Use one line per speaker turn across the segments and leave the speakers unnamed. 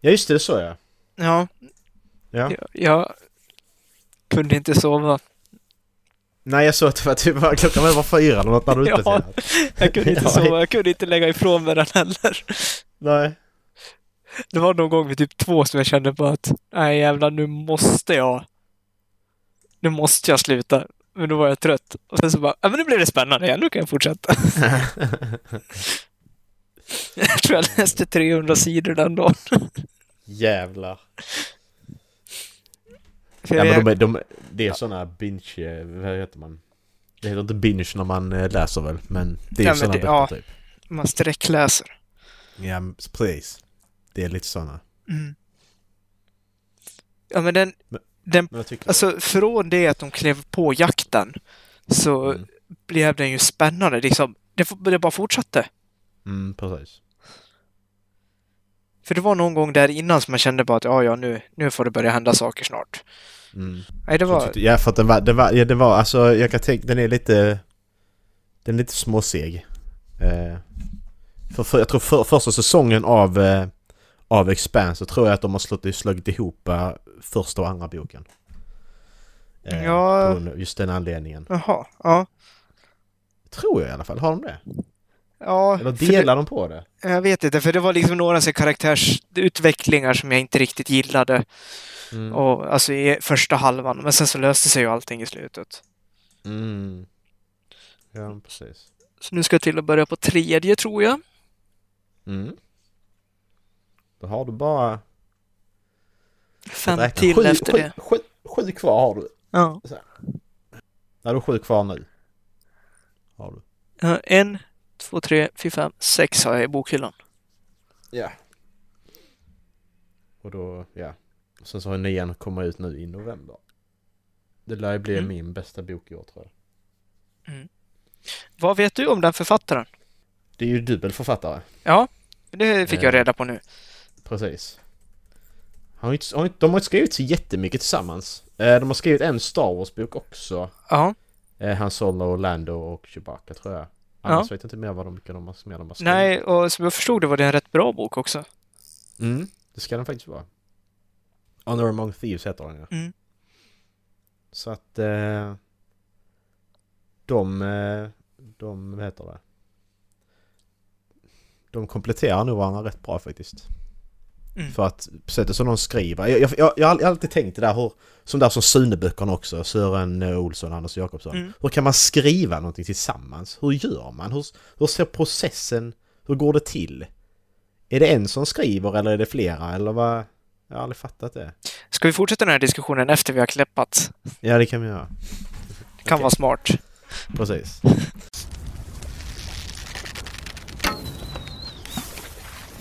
Ja just det, det sa jag.
Ja,
Ja.
jag, jag kunde inte sova.
Nej jag sa att det var typ bara klockan var fyra eller något när du
Ja.
uppdaterade.
Jag kunde inte
Ja.
sova, jag kunde inte lägga ifrån mig den heller.
Nej.
Det var någon gång vid typ två som jag kände på att nej jävlar, nu måste jag. Nu måste jag sluta. Men då var jag trött. Och sen så bara, ja men nu blev det spännande igen, nu kan jag fortsätta. Jag tror jag läste 300 sidor den dagen.
Jävlar.
För
Ja,
jag,
men de, är- de, det är såna binge... eh, Vad heter man? Det heter inte binge när man eh, läser väl, men det är
Ja,
ja,
men
såna
det-
böcker
ja.
typ.
man sträckläser.
Ja, men precis. Det är lite såna.
Mm. Ja men den,
Men-
den,
Men jag tycker...
alltså från det att de klev på jakten så
Mm.
blev den ju spännande liksom. Det, f- det bara fortsatte.
Mm, precis.
För det var någon gång där innan som man kände bara att ja, ja, nu, nu får det börja hända saker snart.
Mm.
Nej, det
Jag
var...
tyckte- Ja, för att den var, den var, ja, det var, alltså jag kan tänka, den är lite... Den är lite småseg. Eh, för, för, jag tror för, första säsongen av, eh, av Expanse så tror jag att de har slagit, slagit ihop eh, första och andra boken. Eh,
Ja.
på grund av Just den anledningen.
Jaha, ja.
Tror jag i alla fall. Har de det?
Ja,
Eller
för det,
delar de på det?
jag vet inte, för det var liksom några så här karaktärsutvecklingar som jag inte riktigt gillade.
Mm.
Och, alltså i första halvan, men sen så löste sig ju allting i slutet.
Mm. Ja, precis.
Så nu ska jag till att börja på tredje, tror jag.
Mm. Då har du bara...
Fem
räkna
till
sju,
efter
sju,
det.
Sju, sju kvar har du.
Ja.
Nej, du har sju kvar nu. Har du.
Ja, En, två, tre, fyra, fem, sex har jag i bokhyllan.
Ja. Och då, ja. Sen så har nian kommit ut nu i november. Det lär ju bli
Mm.
min bästa bok i år tror jag.
Vad vet du om den författaren?
Det är ju dubbel författare.
Ja, det fick jag
Eh.
reda på nu.
Precis. Han har ju inte, har inte, de har inte skrivit så jättemycket tillsammans. Eh, De har skrivit en Star Wars-bok också.
Ja.
Eh, Han Solo, Lando och Chewbacca tror jag. Annars vet jag inte mer vad de, vilka de, har- mer de har skrivit.
Nej, och som jag förstod det var det en rätt bra bok också.
Mm, det ska den faktiskt vara. Honor Among Thieves heter den ja.
Mm.
Så att... Eh, de... eh, De, vad heter det? De kompletterar nog varandra rätt bra faktiskt.
Mm.
För att sättet som de skriver. Jag, jag, jag, jag har alltid tänkt det där hur... Som där som Suneböckerna också, Sören eh, Olsson och Anders Jakobsson.
Mm.
Hur kan man skriva någonting tillsammans? Hur gör man? Hur, hur ser processen? Hur går det till? Är det en som skriver eller är det flera eller vad? Jag har aldrig fattat det.
Ska vi fortsätta den här diskussionen efter vi har kläppat?
Ja, det kan vi göra.
Det kan
Okej.
vara smart.
Precis.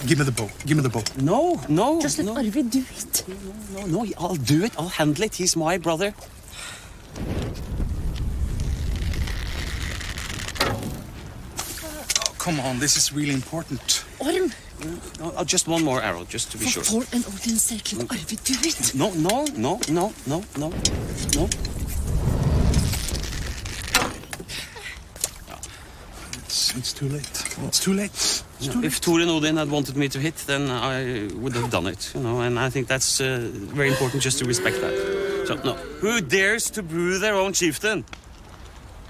Give me the bow. Give me the bow.
No, no,
Just
no,
Arvid, do it.
no, no. I'll do it. I'll handle it. He's my brother.
Oh, come on, this is really important.
Orm,
No, uh, just one more arrow, just to be
for
sure.
for an ordinance sake, let Arvid do it.
No, no, no, no, no, no, no.
It's, it's too late. It's too late.
You know, if Tore Odin had wanted me to hit, then I would have done it. You know, and I think that's uh, very important just to respect that. So, no. Who dares to brew their own chieftain?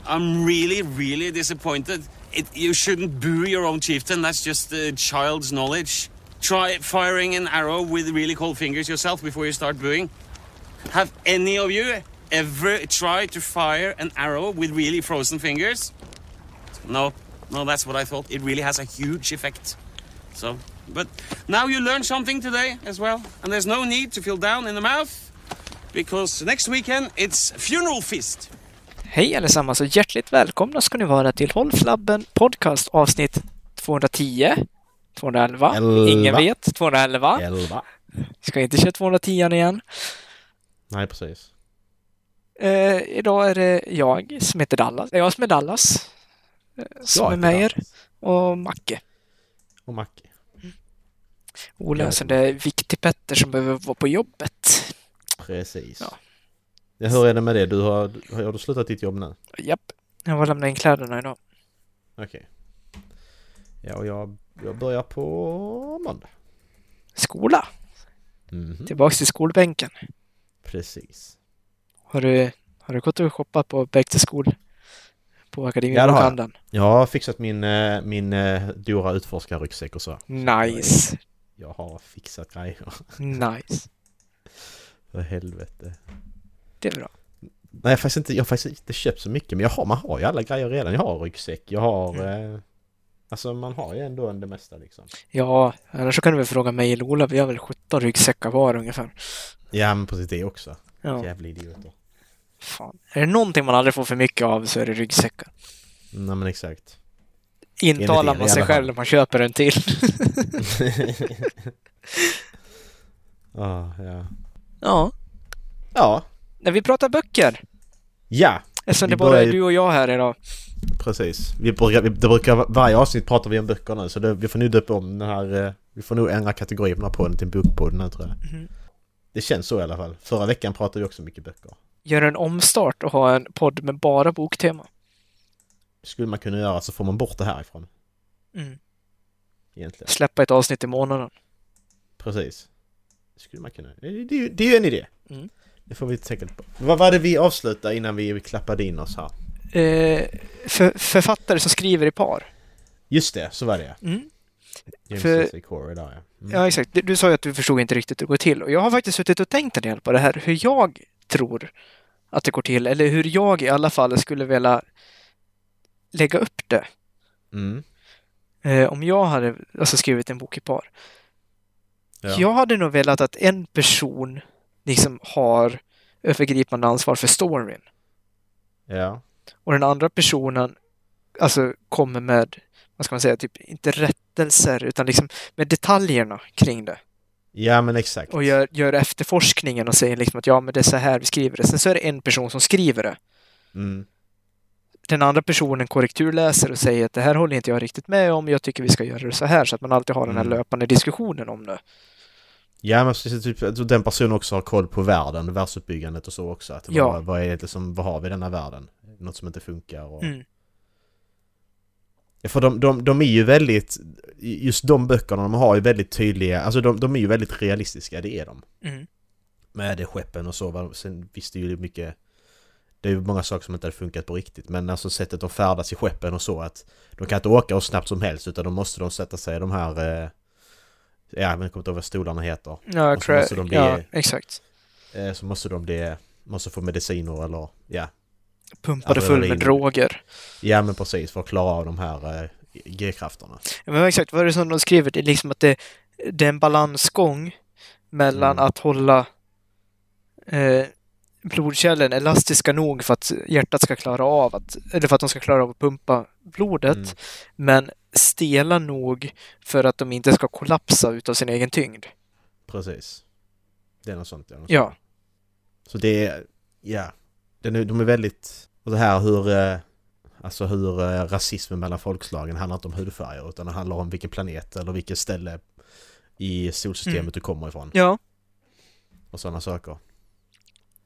I'm really, really disappointed. It, you shouldn't boo your own chieftain. That's just uh, child's knowledge. Try firing an arrow with really cold fingers yourself before you start booing. Have any of you ever tried to fire an arrow with really frozen fingers? No, no, that's what I thought. It really has a huge effect. So, but now you learned something today as well, and there's no need to feel down in the mouth because next weekend it's funeral feast.
Hej allesammans och hjärtligt välkomna ska ni vara till Håll Flabben Podcast avsnitt 210. 211.
Elva.
Ingen vet. 211.
Elva.
Ska inte köra 210 igen.
Nej, precis.
Eh, idag är det jag som heter Dallas. Det är jag som är Dallas. eh, Som
Jag
är
heter
med er.
Dallas.
Och Macke.
Och Macke.
Ola är en
Jag
sån där viktig Petter som behöver vara på jobbet.
Precis.
Ja.
Ja. Hur är det med det? Du har, du- har du slutat ditt jobb nu?
Japp. Jag var och lämnade in kläderna idag.
Okej. Ja, och jag, jag börjar på måndag.
Skola.
Mhm,
Tillbaks till skolbänken.
Precis.
Har du, har du gått och shoppat på Back to School?
Ja, det
På
har jag.
Akademibokhandeln?
Jag har fixat min, eh, min eh, Dora utforskarryggsäck och så.
Nice.
Jag har fixat grejer.
Nice.
För helvete.
Det är bra.
Nej, jag har, faktiskt inte, jag har faktiskt inte köpt så mycket, men jag har, man har ju alla grejer redan. Jag har ryggsäck, jag har... Eh, alltså man har ju ändå det mesta liksom.
Ja, annars så kan du väl fråga mig eller Ola. Vi har väl 17 ryggsäckar var ungefär.
Ja, men precis det också.
Ja,
Jävla idioter.
fan. Är det någonting man aldrig får för mycket av så är det ryggsäckar.
Nej, men exakt.
Intalar
er
man
i
sig
alla fall.
själv när man köper en till.
Ah, ja.
ja.
ja,
När vi pratar böcker.
ja,
Eftersom
Vi
det bara
börjar
är
ju-
du och jag här idag.
precis. Vi brukar, vi, det brukar, varje avsnitt pratar vi om böcker nu, så det, vi får nu döpa om den här... eh, Vi får nog ändra kategorin på den här podden till bokpodden nu, tror jag.
Mhm.
Det känns så i alla fall. Förra veckan pratade vi också mycket böcker.
Gör en omstart och ha en podd med bara boktema.
Skulle man kunna göra så får man bort det härifrån.
Mm.
Egentligen.
Släppa ett avsnitt i månaden.
Precis. Det skulle man kunna. Det, är ju- det är ju en idé.
Mm.
Det får vi tänka på. Vad var det vi avslutade innan vi klappade in oss här?
Eh, för, författare som skriver i par.
Just det, så var det
Mm.
James
För-
För... Corey där ja. Mm.
Ja, exakt. Du, du sa ju att du förstod inte riktigt hur det går till. Och jag har faktiskt suttit och tänkt en del på det här. Hur jag tror att det går till. Eller hur jag i alla fall skulle vilja lägga upp det.
Mm.
Eh, om jag hade alltså, skrivit en bok i par.
Ja.
Jag hade nog velat att en person liksom har övergripande ansvar för storyn.
ja.
Och den andra personen alltså kommer med, vad ska man säga, typ inte rättelser utan liksom med detaljerna kring det.
Ja, men exakt.
Och gör, gör efterforskningen och säger liksom att ja, men det är så här vi skriver det. Sen så är det en person som skriver det.
Mm.
Den andra personen korrekturläser och säger att det här håller inte jag riktigt med om, jag tycker vi ska göra det så här. Så att man alltid har den här
Mm.
löpande diskussionen om det.
Ja, men så, typ, att den personen också har koll på världen, världsuppbyggandet och så också. Att
Ja.
vad, vad är det som, vad har vi i denna världen? Något som inte funkar och...
Mm.
Ja, För de, de, de är ju väldigt, just de böckerna de har är väldigt tydliga, alltså de, de är ju väldigt realistiska, det är de.
Mm.
med det skeppen och så. va. Sen visst det är ju mycket... Det är ju många saker som inte hade funkat på riktigt. Men alltså sättet de färdas i skeppen och så att de kan inte åka hur snabbt som helst utan då måste de sätta sig i de här... Eh, ja, men jag kommer inte ihåg vad stolarna heter.
Ja,
Och så måste de
cra-
bli-
ja, exakt.
Eh, så måste de bli... Måste få mediciner eller... Ja,
Pumpade full med
Adrenalin.
droger.
ja men precis för att klara av de här eh, G-krafterna.
Ja, men exakt, vad är det som de skriver? Det är liksom att det, det är en balansgång mellan
Mm.
att hålla eh, blodkärlen elastiska nog för att hjärtat ska klara av att, eller för att de ska klara av att pumpa blodet,
Mm.
men stela nog för att de inte ska kollapsa utav sin egen tyngd.
Precis. Det är något sånt ja. något
Ja.
Så det är, ja. Den är, de är väldigt, och det här hur, eh, alltså hur eh, rasismen mellan folkslagen handlar inte om hudfärger utan det handlar om vilken planet eller vilket ställe i solsystemet
Mm.
du kommer ifrån
Ja.
och sådana saker.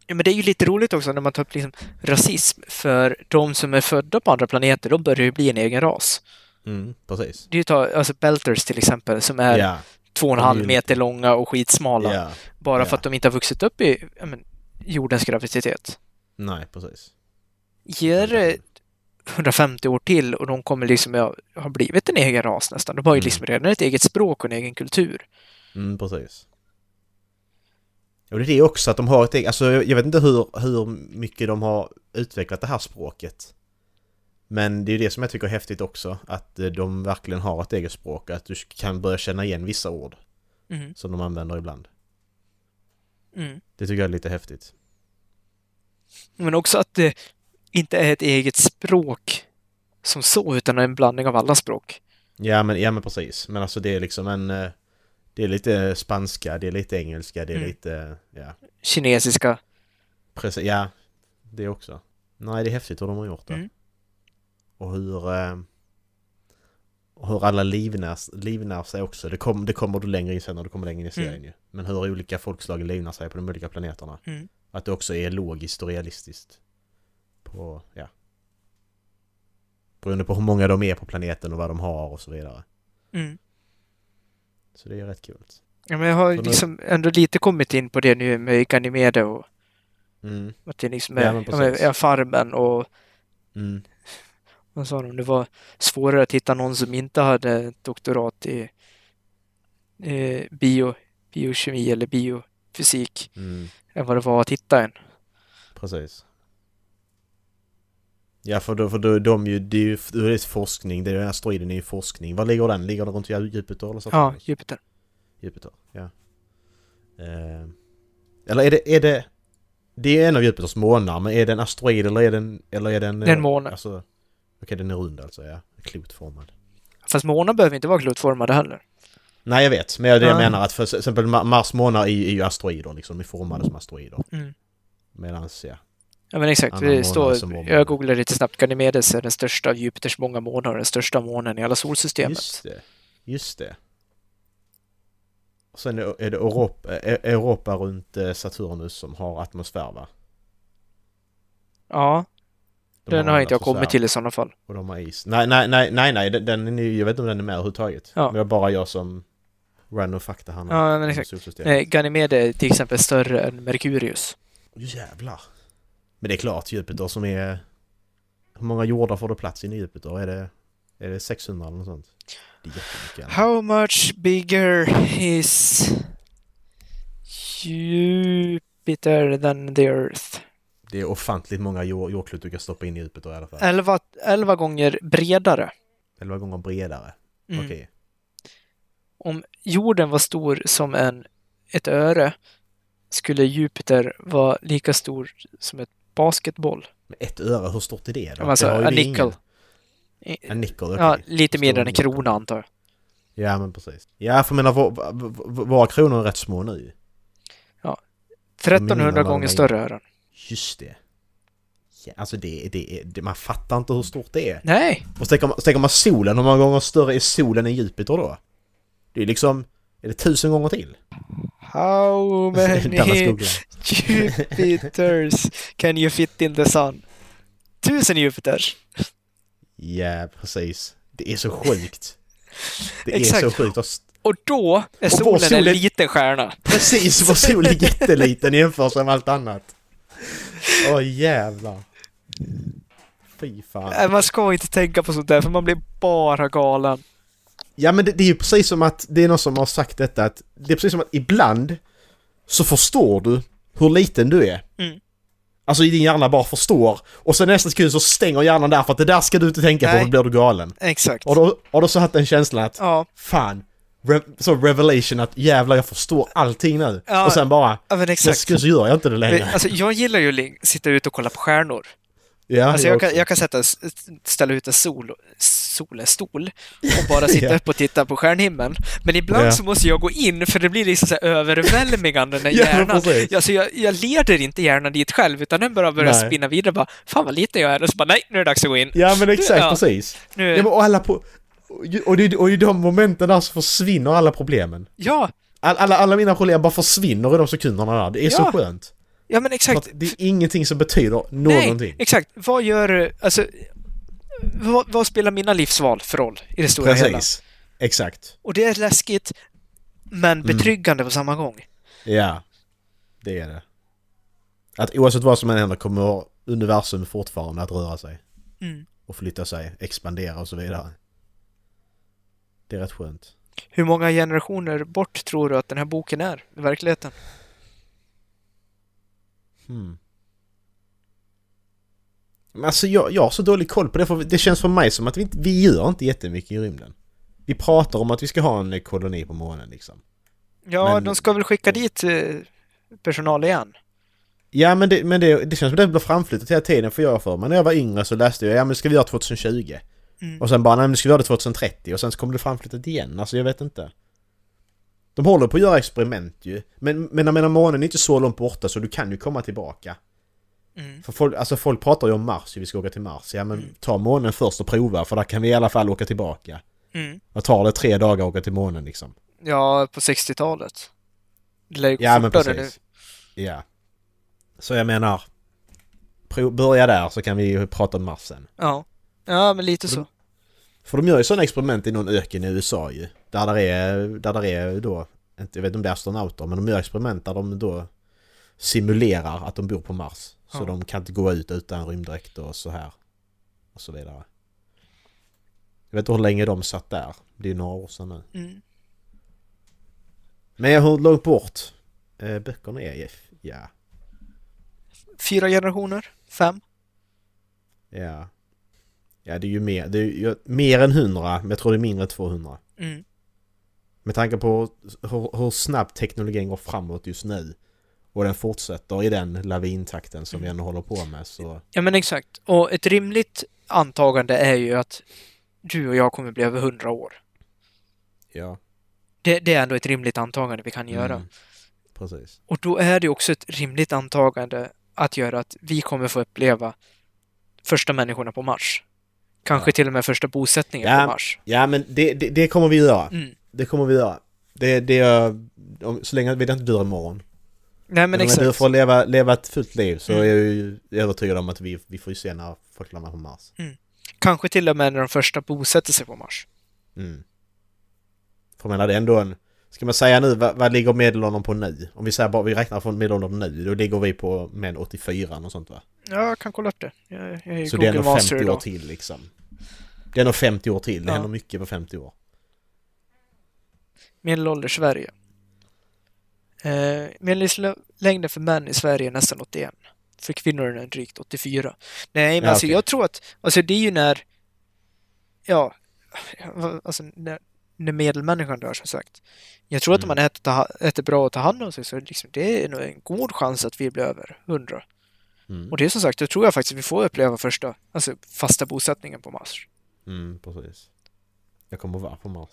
Ja, men det är ju lite roligt också när man tar upp liksom rasism, för de som är födda på andra planeter, de börjar ju bli en egen ras.
Mm, precis.
Det är ju ta, alltså Belters till exempel, som är
Ja,
två och en
De är ju
halv meter långa och skitsmala.
ja,
Bara
Ja.
för att de inte har vuxit upp i ja, men, jordens graviditet.
nej precis.
Ger
Mm.
det 150 år till och de kommer liksom ja, ha blivit en egen ras nästan. De har ju
Mm.
liksom redan ett eget språk och en egen kultur.
Mm, precis. Och det är det också att de har ett eget, alltså jag jag vet inte hur, hur mycket de har utvecklat det här språket. Men det är ju det som jag tycker är häftigt också, att eh, de verkligen har ett eget språk och att du kan börja känna igen vissa ord
Mm.
som de använder ibland.
Mm.
Det tycker jag är lite häftigt.
Men också att det inte är ett eget språk som så, utan en blandning av alla språk.
Ja men, ja, men precis, men alltså det är liksom en... eh, Det är lite spanska, det är lite engelska, det är
Mm.
lite... Ja,
Kinesiska.
precis, ja. Det också. Nej, det är häftigt hur de har gjort det.
Mm.
Och hur... eh, och hur alla livnärs, livnär sig också. Det, kom, det kommer du längre in sen när du kommer längre in i serien ju. Men hur olika folkslag livnär sig på de olika planeterna.
Mm.
Att det också är logiskt och realistiskt. På, ja. Beroende på hur många de är på planeten och vad de har och så vidare.
Mm.
Så det är rätt kul.
Ja, men jag har
Så nu-
liksom ändå lite kommit in på det nu med Ganymede och
Mm.
att det liksom
Ja,
är,
men
ja, men,
precis.
är Farmen och
Mm.
vad sa de, det var svårare att hitta någon som inte hade ett doktorat i eh, bio, biokemi eller biofysik
Mm.
än vad det var att hitta en.
Precis. Ja, för, då, för då, de ju, det är ju det är ju forskning. Det är ju, den här striden är ju forskning. Var ligger den? Ligger den runt Jupiter eller så?
Ja, Jupiter.
Jupiter, ja. Eh, eller är det, är det... Det är en av Jupiters månar, men är det en asteroid eller är den... Eller är den...
Det är en måne.
Alltså, Okej, den är rund alltså, ja. Klotformad.
Fast månen behöver inte vara klotformade heller.
Nej, jag vet. Men jag, det jag
Ja.
menar att för till exempel Ma- Mars månar är ju är ju asteroider liksom. De är formade som asteroider.
Mm.
Medans, ja.
Ja men alltså, exakt,
Annan
det
månad
står,
som var månad.
jag googlade lite snabbt, Ganymedes är den största av Jupiters många månar och den största månen i alla solsystemet.
Just det. Just det. Och sen är är det Europa, eh, Europa runt eh, Saturnus som har atmosfär, va?
Ja,
De
den har
en
inte jag kommit
atmosfär.
till i sådana fall.
Och de har is. Nej, nej, nej, nej, nej den, den är ny. Jag vet inte om den är med överhuvudtaget.
Ja.
Men det var bara jag som random fakta han
Mm. Ja, men exakt. Nej,
solsystemet.
Ganymede är till exempel större än Merkurius.
Jävlar. Men det är klart, Jupiter som är... Hur många jordar får det plats in i Jupiter? Är det, är det 600 eller något sånt? Det är jättemycket.
How much bigger is Jupiter than the Earth?
Det är ofantligt många jord, jordklot du kan stoppa in i Jupiter i alla fall.
11, 11 gånger bredare.
Elva gånger bredare.
Mm.
Okej.
Om jorden var stor som en, ett öre skulle Jupiter vara lika stor som ett basketboll.
Men ett öre, hur stort är det då?
alltså,
det har ju
a
det ingen-
nickel.
En nickel, okej.
Ja, lite mindre än en
Förstår.
krona antar jag.
Ja, men precis. Ja, för jag menar, vår- vår- våra kronor är rätt små nu.
1300
Minerna
gånger
var-
större är den.
Just det. Ja, alltså det, det, är- det, man fattar inte hur stort det är.
Nej!
Och så tänker man, så tänker man solen, hur många gånger större är solen än Jupiter då? Det är liksom, är det tusen gånger till?
How
Dallas
many
googlar.
Jupiters can you fit in the sun? Tusen Jupiters!
Ja, precis. Det är så sjukt. Det är
Exakt.
så sjukt. Och s-
Och då är
vår
solen
sol
en
är-
liten stjärna.
Precis, vår sol är jätteliten i jämförelse med allt annat. Åh jävlar. Fy fan.
Nej, Äh, Man ska inte tänka på sånt där för man blir bara galen.
Ja men det, det är ju precis som att det är någon som har sagt detta att det är precis som att ibland så förstår du hur liten du är.
Mm.
Alltså i din hjärna bara förstår och sen nästa sekund så stänger hjärnan där för att det där ska du inte tänka på
Nej.
för då blir du galen.
Exakt.
Och då, och då så haft den känslan att
Ja,
fan, re- så revelation att jävlar jag förstår allting nu.
Ja,
och sen bara,
ja, men
jag
exakt.
skulle så gör jag inte det längre.
Alltså, jag gillar ju att li- sitta ute och kolla på stjärnor.
ja,
Alltså, jag, kan,
också.
jag kan sätta, s- ställa ut en sol, sol, en stol och bara sitta
Ja.
upp och titta på stjärnhimlen. Men ibland
Ja.
så måste jag gå in för det blir liksom så här överväldigande när
Ja,
hjärnan...
precis.
alltså, jag, jag leder inte hjärnan dit själv utan den bara börjar
Nej.
spinna vidare. Bara, Fan vad liten jag är. Och så bara nej, nu är det dags att gå in.
Ja men exakt,
Ja.
precis.
Nu,
Ja, men, och alla på... Och, det, och i de momenten där så försvinner alla problemen.
ja,
All, alla, alla mina problem bara försvinner i de sekunderna där. Det är
Ja,
så skönt.
ja, men
För
exakt.
att det är ingenting som betyder någonting.
Nej, exakt. Vad gör... Alltså, vad, vad spelar mina livsval för roll i det stora hela?
Precis. Exakt.
Och det är läskigt, men
Mm.
betryggande på samma gång.
Ja. Det är det. Att oavsett vad som än händer kommer universum fortfarande att röra sig.
Mm.
Och flytta sig, expandera och så vidare. Det är rätt skönt.
Hur många generationer bort tror du att den här boken är i verkligheten?
Hmm. Men alltså jag, jag har så dålig koll på det för det känns för mig som att vi, inte, vi gör inte jättemycket i rymden. Vi pratar om att vi ska ha en eh, koloni på månen liksom.
Ja,
Men-
de ska väl skicka dit eh, personal igen.
Ja men det, men det, det känns som att det blir framflyttat hela tiden för jag för mig. När jag var yngre så läste jag ja men det ska vi göra 2020.
Mm.
Och sen bara nej men det ska vi göra det 2030 och sen så kommer det framflyttat igen. Alltså jag vet inte. De håller på att göra experiment ju. Men, men jag menar månen är inte så långt borta så du kan ju komma tillbaka.
Mm.
För folk, alltså folk pratar ju om Mars, ju, vi ska åka till Mars. Ja men ta månen först och prova för där kan vi i alla fall åka tillbaka.
Mm.
Vad tar det tre dagar att åka till månen liksom?
Ja, på 60-talet. Det lär ju gå
Ja men
fortare
precis. Ja. Så jag menar, pro- börja där så kan vi ju prata om Mars sen.
Ja. ja, men lite så.
För de gör ju sådana experiment i någon öken i USA ju. Där där är, där där är då inte- jag vet inte om det är astronauter, men de gör experiment där de då simulerar att de bor på Mars. Så
Ja.
de kan inte gå ut utan rymddräkt och så här. Och så vidare. Jag vet inte hur länge de satt där. Det är ju några år sedan nu.
Mm.
Men hur långt bort eh, böckerna är? Ja,
Fyra generationer? Fem?
ja. Ja, det är ju mer, det är ju mer än 100, men jag tror det är mindre än 200.
Mm.
Med tanke på hur, hur snabbt teknologin går framåt just nu och den fortsätter i den lavintakten som vi ändå håller på med så...
Ja, men exakt. Och ett rimligt antagande är ju att du och jag kommer bli över hundra år.
Ja,
Det, det är ändå ett rimligt antagande vi kan göra.
Mm. precis.
Och då är det också ett rimligt antagande att göra att vi kommer få uppleva första människorna på Mars. Kanske till och med första bosättningen
Ja.
på Mars.
Ja, men det, det, det kommer vi göra.
Mm.
Det kommer vi göra. Det, det är... Om, så länge vi inte dör imorgon.
Nej, men
Men om
exakt.
du får leva, leva ett fullt liv så
Mm.
är jag ju övertygad om att vi, vi får ju se när folk landar på Mars.
Kanske till och med när de första bosätter sig på Mars.
Mm. För jag menar det är ändå en... Ska man säga nu, vad, vad ligger medelåldern på nu? Om vi säger bara vi räknar från medelåldern nu, då ligger vi på men 84 och sånt va?
Ja, jag kan kolla upp det. Jag, jag är
Så det är
Google
ändå
Master
50 år
idag.
till liksom. Det är ändå 50 år till, det
Ja.
händer mycket på 50 år.
Medelålder Sverige. Eh, Medellivslängden för män i Sverige är nästan 81. För kvinnor är den drygt 84. Nej, men
Ja,
alltså
okej.
jag tror att, alltså det är ju när, ja, alltså när, när medelmänniskan dör som sagt. Jag tror att om
Mm.
man äter, ta, äter bra och tar hand om sig så är det liksom, det är nog en god chans att vi blir över 100.
Mm.
Och det är som sagt, då tror jag faktiskt att vi får uppleva första, alltså fasta bosättningen på Mars.
Mm, precis. Jag kommer vara på Mars.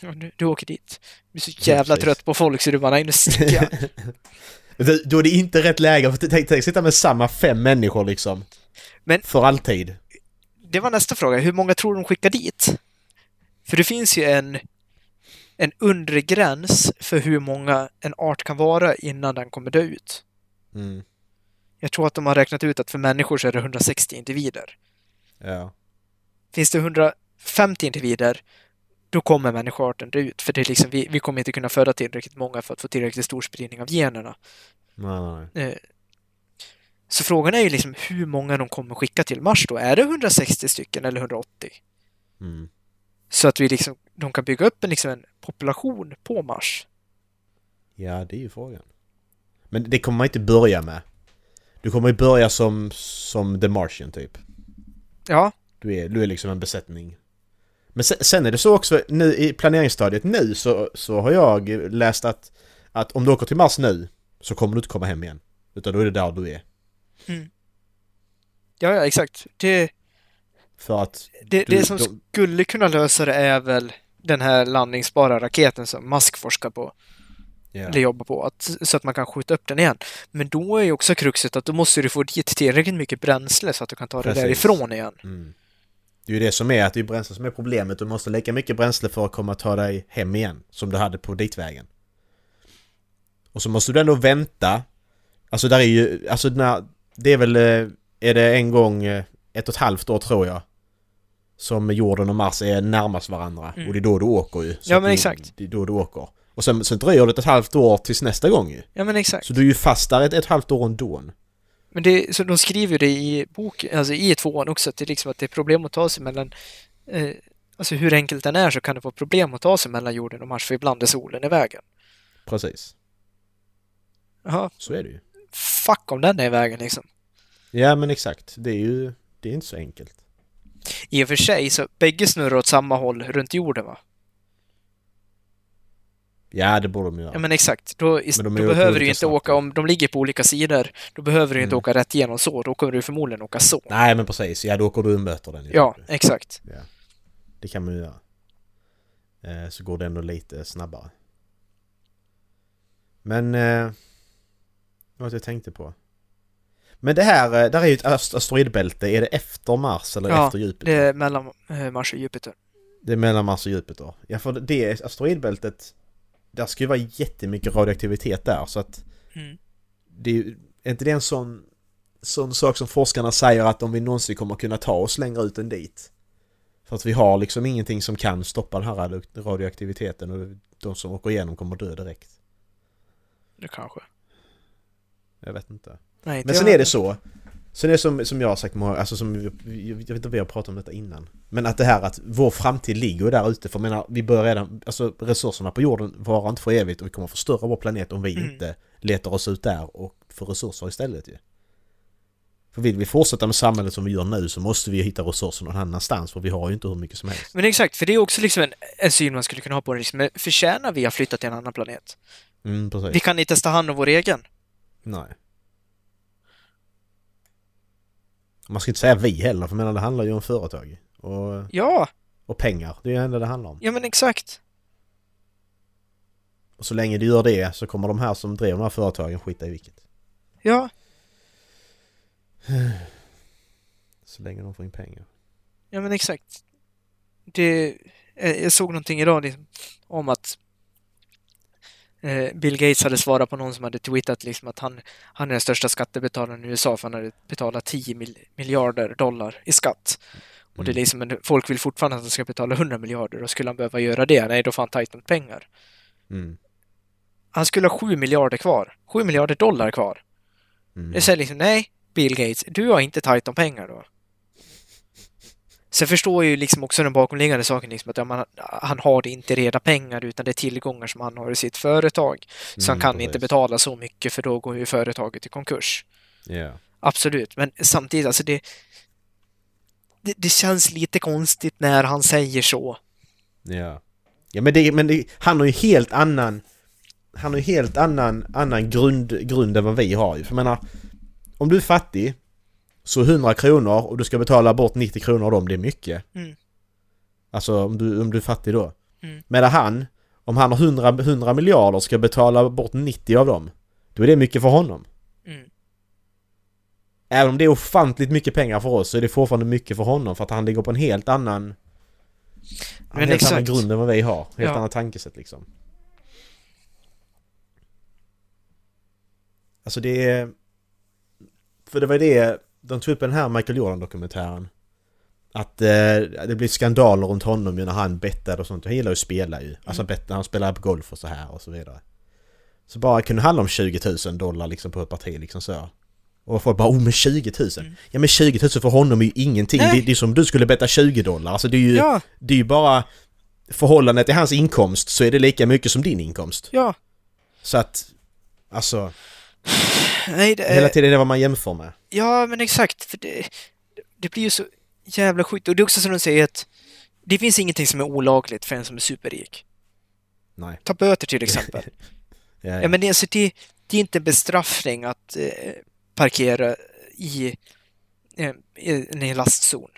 Ja, Du, du åker dit. Du är så jävla
precis.
trött på folk så du bara, nej nu sticker jag.
Då- Då är det inte rätt läge, för tänk, tänk sitta med samma fem människor liksom.
Men-
För alltid.
Det var nästa fråga. Hur många tror de skickar dit? För det finns ju en, en undre gräns för hur många en art kan vara innan den kommer dö ut.
Mm.
Jag tror att de har räknat ut att för människor så är det 160 individer.
Ja.
Finns det 150 individer, då kommer människoarten dö ut. För det är liksom, vi, vi kommer inte kunna föda tillräckligt många för att få tillräckligt stor spridning av generna.
Nej, nej, nej.
Eh, Så frågan är ju liksom hur många de kommer skicka till Mars då. Är det 160 stycken eller 180?
Mm.
Så att vi liksom, de kan bygga upp en, liksom en population på Mars.
Ja, det är ju frågan. Men det kommer man inte börja med. Du kommer ju börja som, som The Martian typ.
Ja,
Du är, du är liksom en besättning. Men sen, sen är det så också nu i planeringsstadiet nu så, så har jag läst att, att om du åker till Mars nu så kommer du inte komma hem igen. Utan då är det där du är.
ja, ja exakt. Det,
För att...
det,
Du-
det som
de-
skulle kunna lösa det är väl den här landningsbara raketen som Musk forskar på,
Ja.
eller jobbar på, att, så att man kan skjuta upp den igen. Men då är ju också kruxet att då måste du få dit tillräckligt mycket bränsle så att du kan ta det
Precis.
därifrån igen.
Mm. Det är ju det som är, att det är bränsle som är problemet. Du måste lika mycket bränsle för att komma och ta dig hem igen som du hade på ditvägen. Och så måste du ändå vänta. Alltså där är ju, alltså när, det är väl, eh, är det en gång eh, ett och ett halvt år tror jag. Som jorden och Mars är närmast varandra.
Mm.
Och det är då du åker ju. Så
Ja,
att
men
det-
exakt.
Det är då du åker. Och sen, sen dröjer det ett halvt år tills nästa gång ju.
Ja, men exakt.
Så du är ju fast där ett, ett halvt år ändå.
Men det, så de skriver ju det i boken, alltså i tvåan också, att det, är liksom att det är problem att ta sig mellan, eh, alltså hur enkelt den är så kan det vara problem att ta sig mellan jorden och Mars, för ibland är solen i vägen.
Precis.
Jaha,
Så är det ju.
fuck om den är i vägen liksom.
Ja men exakt. Det är ju, det är inte så enkelt.
I och för sig, så bägge snurrar åt samma håll runt jorden va?
Ja, det borde de
Ja,
göra.
men exakt, då, ist-
Men de är
då
ju åt
behöver du
olika
ju inte
snabbt.
åka, om de ligger på olika sidor, då behöver du ju inte
Mm.
åka rätt igenom så, då kommer du förmodligen åka så.
Nej, men precis. Ja, då åker du och möter den. ju.
Ja, exakt.
Det kan man ju göra. Eh, Så går det ändå lite snabbare. Men... eh, Vad jag tänkte på. Men det här, eh, där är ju ett ast- asteroidbälte. Är det efter Mars eller
Ja,
efter Jupiter?
Det är mellan eh, Mars och Jupiter.
Det är mellan Mars och Jupiter. Ja, för det asteroidbältet... Där ska ju vara jättemycket radioaktivitet där, så att...
Mm.
Det är, ju- är inte det en sån, sån sak som forskarna säger att om vi någonsin kommer kunna ta oss längre ut än dit? För att vi har liksom ingenting som kan stoppa den här radio- radioaktiviteten och de som åker igenom kommer dö direkt.
Nu kanske.
Jag vet inte.
Nej, inte
Men sen
jag.
är det så. Sen är det som, som jag har sagt många, alltså som, vi- vi- jag vet inte om vi har pratat om detta innan. Men att det här att vår framtid ligger ju där ute, för jag menar, vi börjar redan, alltså resurserna på jorden varar inte för evigt och vi kommer förstöra vår planet om vi inte letar oss ut där och får resurser istället ju. För vill vi fortsätta med samhället som vi gör nu så måste vi hitta resurser någon annanstans, för vi har ju inte hur mycket som helst.
Men exakt, för det är också liksom en, en syn man skulle kunna ha på det. Liksom, förtjänar vi att flytta till en annan planet?
Mm, precis.
Vi kan inte ta hand om vår egen.
Nej. Man ska inte säga vi heller, för jag menar, det handlar ju om företag. Och,
Ja,
och pengar, det är ju det enda det handlar om.
ja men exakt.
Och så länge du gör det så kommer de här som driver de här företagen skita i vilket.
Ja,
Så länge de får in pengar.
ja men exakt. Det, eh, jag såg någonting idag liksom, om att eh, Bill Gates hade svarat på någon som hade tweetat liksom, att han, han är den största skattebetalaren i USA för han hade betalat 10 mil, miljarder dollar i skatt. Och det är liksom, en- folk vill fortfarande att han ska betala 100 miljarder och skulle han behöva göra det, nej då får han tajt med pengar.
Mm.
Han skulle ha 7 miljarder kvar. 7 miljarder dollar kvar.
Mm.
Det säger liksom, nej, Bill Gates, du har inte tajt om pengar då. Sen förstår jag ju liksom också den bakomliggande saken, liksom att ja, man, han har det inte i reda pengar, utan det är tillgångar som han har i sitt företag. Så han
Mm,
kan
precis.
inte betala så mycket, för då går ju företaget i konkurs.
Ja.
Absolut, men samtidigt, alltså det, det... Det känns lite konstigt när han säger så.
Ja. Ja men, det, men det, han har ju helt annan... Han har ju helt annan, annan grund, grund än vad vi har ju. För jag menar, om du är fattig så 100 kronor och du ska betala bort 90 kronor av dem, det är mycket.
Mm.
Alltså om du, om du är fattig då.
Mm.
Medan han, om han har 100, 100 miljarder ska betala bort 90 av dem, då är det mycket för honom.
Mm.
Även om det är ofantligt mycket pengar för oss så är det fortfarande mycket för honom för att han ligger på en helt annan... En
Men
helt annan
exakt.
grund än vad vi har. Helt
Ja.
annat tankesätt liksom. Alltså det är... För det var det de tog upp i den här Michael Jordan-dokumentären. Att eh, det blev skandaler runt honom ju när han bettade och sånt. Han gillar ju att spela ju. Alltså
Mm.
bet- när han spelar på golf och så här och så vidare. Så bara kunde handla om 20 000 dollar liksom på ett parti liksom så. Och folk bara oh men 20 000! Ja men 20 000 för honom är ju ingenting.
Mm. Nej.
Det, det är som om du skulle betta 20 dollar. Alltså det är ju,
Ja.
det är ju bara förhållandet till hans inkomst så är det lika mycket som din inkomst.
Ja,
Så att, alltså,
nej, det,
hela tiden är det vad man jämför med.
Ja, men exakt. För det, det blir ju så jävla sjukt. Och det är också som de säger att det finns ingenting som är olagligt för en som är superrik.
Nej.
Ta böter till exempel.
Ja, ja.
ja, men det, alltså, det, det är inte en bestraffning att eh, parkera i, eh, i en lastzon.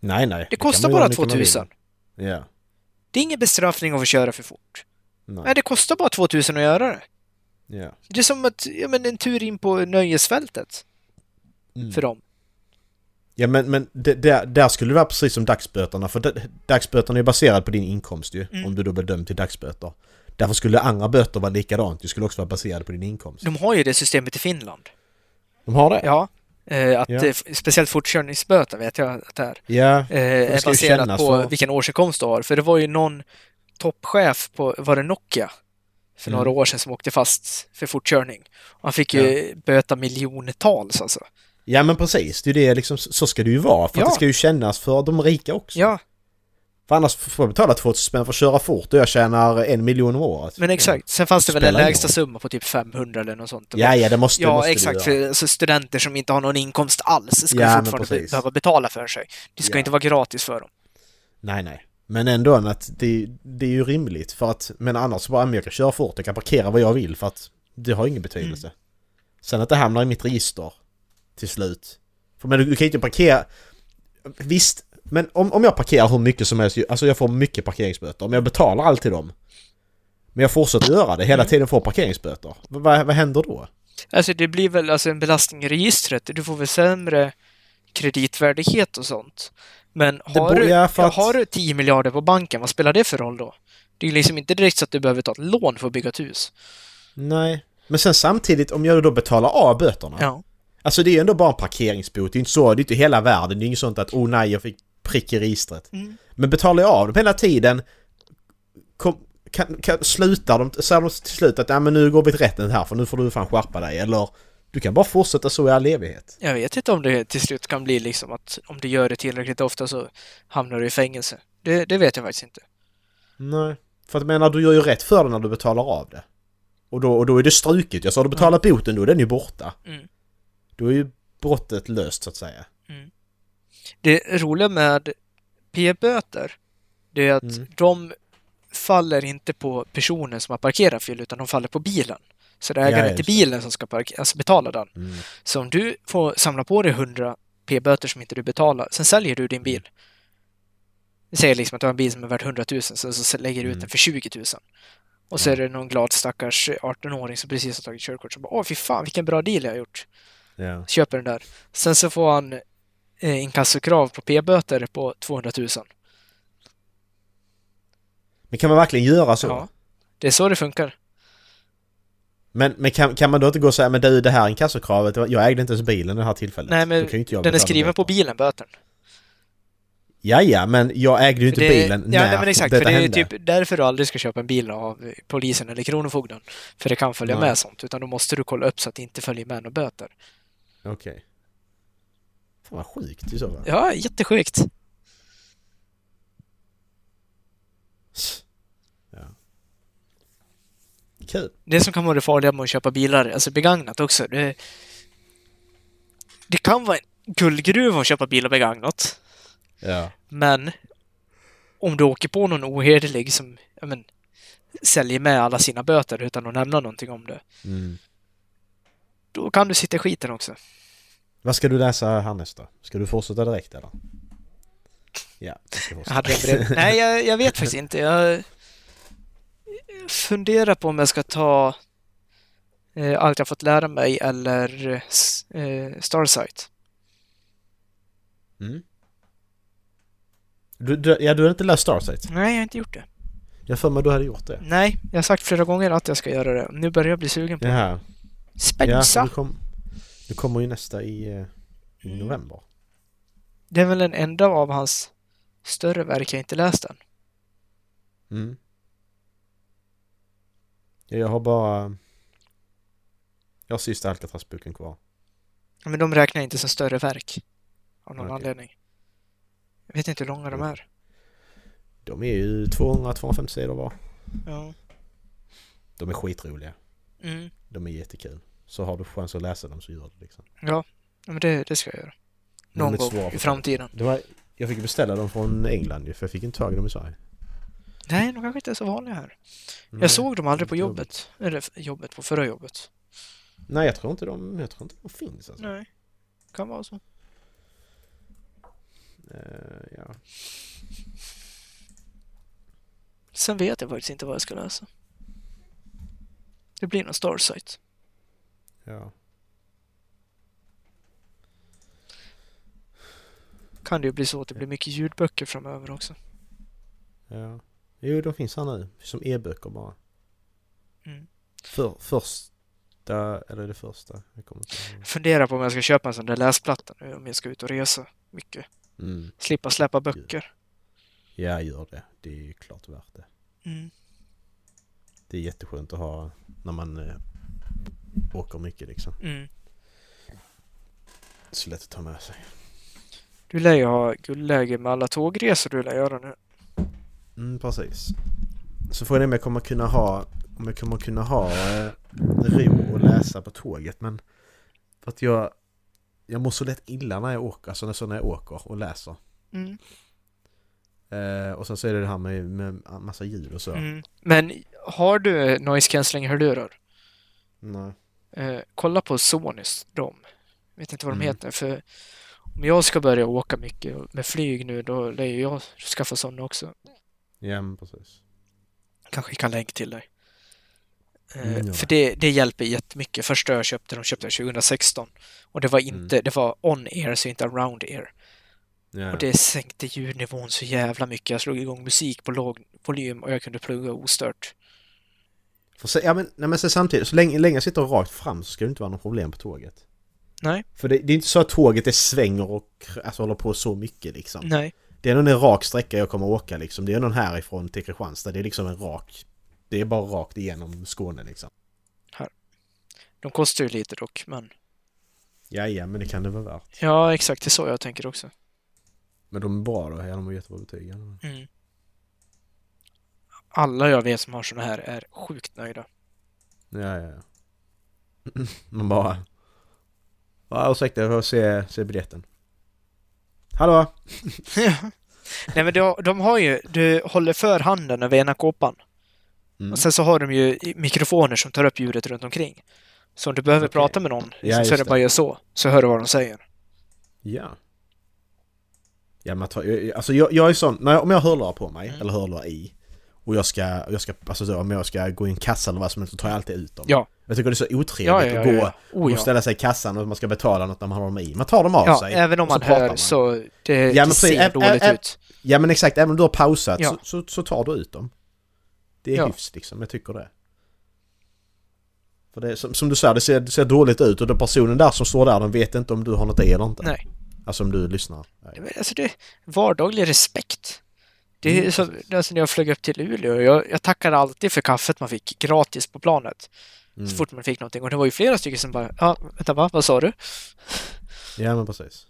nej, nej.
Det
kan
kostar
man göra
bara
mycket man vill.
2000.
Ja.
Det är ingen bestraffning att få köra för fort.
Nej.
Nej, det kostar bara 2000 att göra det.
Ja.
Det är som att, ja, men en tur in på nöjesfältet
Mm.
för dem.
Ja men, men det, där, där skulle det vara precis som dagsböterna för d- dagsböterna är baserad på din inkomst ju
Mm.
om du då blir dömd till dagsböter. Därför skulle andra böter vara likadant, det skulle också vara baserade på din inkomst.
De har ju det systemet i Finland.
De har det?
Ja, eh, att,
Ja.
eh, f- speciellt fortkörningsböter vet jag att det är.
Ja.
eh, är
ska ju
baserat
kännas
på
för-
vilken årsinkomst du har. För det var ju någon toppchef på, var det Nokia? För
Mm.
några år sedan som åkte fast för fortkörning. Och han fick ju böta miljontals alltså.
ja men precis, det är ju det liksom, så ska det ju vara för
Ja.
att det ska ju kännas för de rika också.
Ja,
För annars får jag betala 2000 spänn för att köra fort och jag tjänar en miljon om året.
men exakt. Sen fanns det väl en
Spelar ingen
lägsta
roll.
summa på typ 500 eller något sånt.
Ja, ja det måste, det
Ja,
måste
exakt.
Du göra.
För alltså, studenter som inte har någon inkomst alls ska
Ja, men
fortfarande be-
precis.
behöva betala för sig. Det ska
Ja.
inte vara gratis för dem.
Nej, nej. Men ändå att det, det är ju rimligt för att, men annars så bara, men jag kan köra fort, jag kan parkera vad jag vill för att det har ingen betydelse.
Mm.
Sen att det hamnar i mitt register till slut. För men du, du kan ju inte parkera, visst, men om, om jag parkerar hur mycket som helst, alltså jag får mycket parkeringsböter, men jag betalar alltid dem. Men jag fortsätter göra det, hela
Mm.
tiden får parkeringsböter. Vad- Vad vad händer då?
Alltså det blir väl alltså en belastning i registret. Du får väl sämre kreditvärdighet och sånt. Men har,
borde-
du,
ja, för att-
har du 10 miljarder på banken, vad spelar det för roll då? Det är ju liksom inte direkt så att du behöver ta ett lån för att bygga ett hus.
Nej. Men sen samtidigt, om jag då betalar av böterna,
Ja.
Alltså det är ju ändå bara en parkeringsbot, det är inte så, det är inte hela världen, det är inget sånt att oh nej jag fick prick i registret.
Mm.
Men betalar jag av dem hela tiden, kom, kan, kan, slutar de, säger de till slut att ja, men nu går vi till rätten här för nu får du fan skärpa dig. Eller du kan bara fortsätta så i all evighet.
Jag vet inte om det till slut kan bli liksom att om du gör det tillräckligt ofta så hamnar du i fängelse. Det, det vet jag faktiskt inte.
Nej. För att jag menar, du gör ju rätt för det när du betalar av det. Och då, och då är det struket. Jag sa, har du betalat boten då är den ju borta.
Mm.
Då är ju brottet löst så att säga.
Det roliga med p-böter, det är att
Mm.
de faller inte på personen som har parkerat fel, utan de faller på bilen. Så det är
Ja,
ägaren
just
till
det. Mm.
bilen som ska parke- alltså betala den. Så om du får samla på dig 100 p-böter som inte du betalar, sen säljer du din
Mm.
bil. Vi säger liksom att du har en bil som är värd 100 000, sen så lägger du ut
Mm.
den för 20 000. Och så är det någon glad stackars 18-åring som precis har tagit körkort som bara åh fy fan vilken bra deal jag har gjort
Ja.
köper den där. Sen så får han eh, inkassokrav på p-böter på 200 000.
Men kan man verkligen göra så?
Ja. Det är så det funkar.
Men, men kan, kan man då inte gå och säga men du det här inkassokravet, jag ägde inte ens bilen i det här tillfället.
Nej,
Då
men
kan ju inte jag
den är
betala
skriven på
böter.
bilen, bötern.
Ja, ja, men jag ägde ju inte
Det-
bilen
ja,
när
nej, men exakt.
detta
För det är ju
hände.
typ därför du aldrig ska köpa en bil av eh, polisen eller kronofogden. För det kan följa
Nej.
med sånt. Utan då måste du kolla upp så att det inte följer med några böter.
Okej. Fan vad sjukt i så fall.
Ja, jättesjukt.
Kul.
Det som kan vara det farliga med att köpa bilar, alltså begagnat också. Det, det kan vara en guldgruva att köpa bilar begagnat.
Ja.
Men om du åker på någon ohederlig som ja, men, säljer med alla sina böter utan att nämna någonting om det,
Mm.
då kan du sitta i skiten också.
Vad ska du läsa härnäst då? Ska du fortsätta direkt eller? Ja, jag ska
Jag
fortsätta.
hade en brev. Nej, jag, jag vet faktiskt inte. Jag funderar på om jag ska ta eh, Allt jag fått lära mig eller eh, s- eh, Starsight.
Mm. Du, du, ja, du har inte läst Starsight?
Nej, jag har inte gjort det.
Jag har för mig du hade gjort det.
Nej, jag har sagt flera gånger att jag ska göra det. Nu börjar jag bli sugen på det.
Jaha. Ja,
Spensa!
du, kom, du kommer ju nästa i, eh, i november.
Det är väl den enda av hans större verk jag inte läst än.
Mm. Ja, jag har bara... Jag har sista Alcatraz-boken kvar.
Men de räknar jag inte som större verk. Av någon
Okej.
anledning. Jag vet inte hur långa de är.
De är ju 200-250 sidor var.
Ja.
De är skitroliga.
Mm.
De är jättekul. Så har du chans att läsa dem så gör du liksom.
Ja, Ja, men det, det ska jag göra.
Men de är
Någon
svåra
gång
att få tag
i framtiden.
Det var, jag fick ju beställa dem från England ju, för jag fick inte tag i dem i Sverige.
Nej, de kanske inte är så vanliga här.
Nej.
Jag såg dem aldrig på
inte
jobbet. Eller f- jobbet, på förra jobbet.
Nej, jag tror inte de, jag tror inte de finns alltså.
Nej. Kan vara så.
Eh, ja.
Sen vet jag faktiskt inte vad jag ska läsa. Det blir någon Starsight.
ja.
Kan det ju bli så att det blir mycket ljudböcker framöver också.
Ja. Jo, de finns här nu. Som e-böcker bara.
Mm.
För, första, eller det första. Jag kommer inte ihåg.
Jag funderar på om jag ska köpa en sån där läsplatta nu om jag ska ut och resa mycket.
Mm.
Slippa släppa böcker.
Ja, gör det. Det är ju klart värt det.
Mm.
Det är jätteskönt att ha när man eh, åker mycket liksom.
Mm.
Så lätt att ta med sig.
Du lär ju ha guldläge med alla tågresor du lär göra nu.
Mm, precis. Så frågan är om jag kommer kunna ha, om jag kommer kunna ha eh, ro och läsa på tåget men för att jag, jag mår så lätt illa när jag åker, alltså när, så när jag åker och läser.
Mm.
Eh, och sen så är det det här med, med massa ljud och så.
Mm. Men har du noise cancelling-hörlurar?
Nej.
Eh, kolla på Sonys, de. Jag vet inte vad de
Mm.
heter, för om jag ska börja åka mycket med flyg nu, då lär ju jag skaffa sådana också.
Ja, men precis.
Kanske skicka en länk till dig. Eh,
Mm, gör
för det, det hjälper jättemycket. Första jag köpte, de köpte jag 2016. Och det var
Mm.
inte, det var on-ear, så inte around-ear.
Ja,
Och det sänkte ljudnivån så jävla mycket. Jag slog igång musik på låg volym och jag kunde plugga ostört.
För se, ja men, nej, men sen samtidigt, så länge, länge jag sitter rakt fram så ska det inte vara något problem på tåget.
Nej.
För det, det är inte så att tåget det svänger och kr- alltså, håller på så mycket liksom.
Nej.
Det är nog en rak sträcka jag kommer åka liksom. Det är någon härifrån till Kristianstad. Det är liksom en rak... Det är bara rakt igenom Skåne liksom.
De kostar ju lite dock, men...
Ja, ja, men det kan det vara värt.
Ja, exakt. Det är så jag tänker också.
Men de är bra då. Ja, de har jättebra betyg. Ja.
Mm. Alla jag vet som har såna här är sjukt nöjda.
Ja, ja, ja. Man bara... Ja, ursäkta, jag får se, se biljetten. Hallå?
Nej men de, de har ju, du håller för handen över ena kåpan.
Mm.
Och sen så har de ju i- mikrofoner som tar upp ljudet runt omkring. Så om du behöver prata med någon
Ja,
så är
just
det
det.
bara att göra så, så hör du vad de säger.
Ja. Ja, man tar, jag- jag- alltså jag, jag är sån, när jag, om jag har hörlurar på mig,
Mm.
eller hörlurar i, och jag ska, jag ska, alltså så, om jag ska gå i en kassa eller vad som helst, så tar jag alltid ut dem.
Ja.
Jag tycker det är så otrevligt
Ja, ja, ja,
att gå
ja. Oh, ja.
och ställa sig i kassan och man ska betala något när man har dem i. Man tar dem av
ja,
sig.
även om
och så
man
pratar
hör så det,
Ja, men
det
precis.
ser
Ä- ä-
dåligt
ä-
ut.
Ja men exakt, även om du har pausat
Ja.
så, så, så tar du ut dem. Det är
Ja.
hyfs liksom, jag tycker det. För det är som, som du säger, det ser, det ser dåligt ut och den personen där som står där, den vet inte om du har något i eller inte.
Nej.
Alltså om du lyssnar.
Det var- Alltså det, vardaglig respekt.
Mm.
Det är som, alltså när jag flög upp till Luleå, jag, jag tackade alltid för kaffet man fick gratis på planet.
Mm.
Så fort man fick någonting. Och det var ju flera stycken som bara, ja, vänta va, vad sa du?
Ja men precis.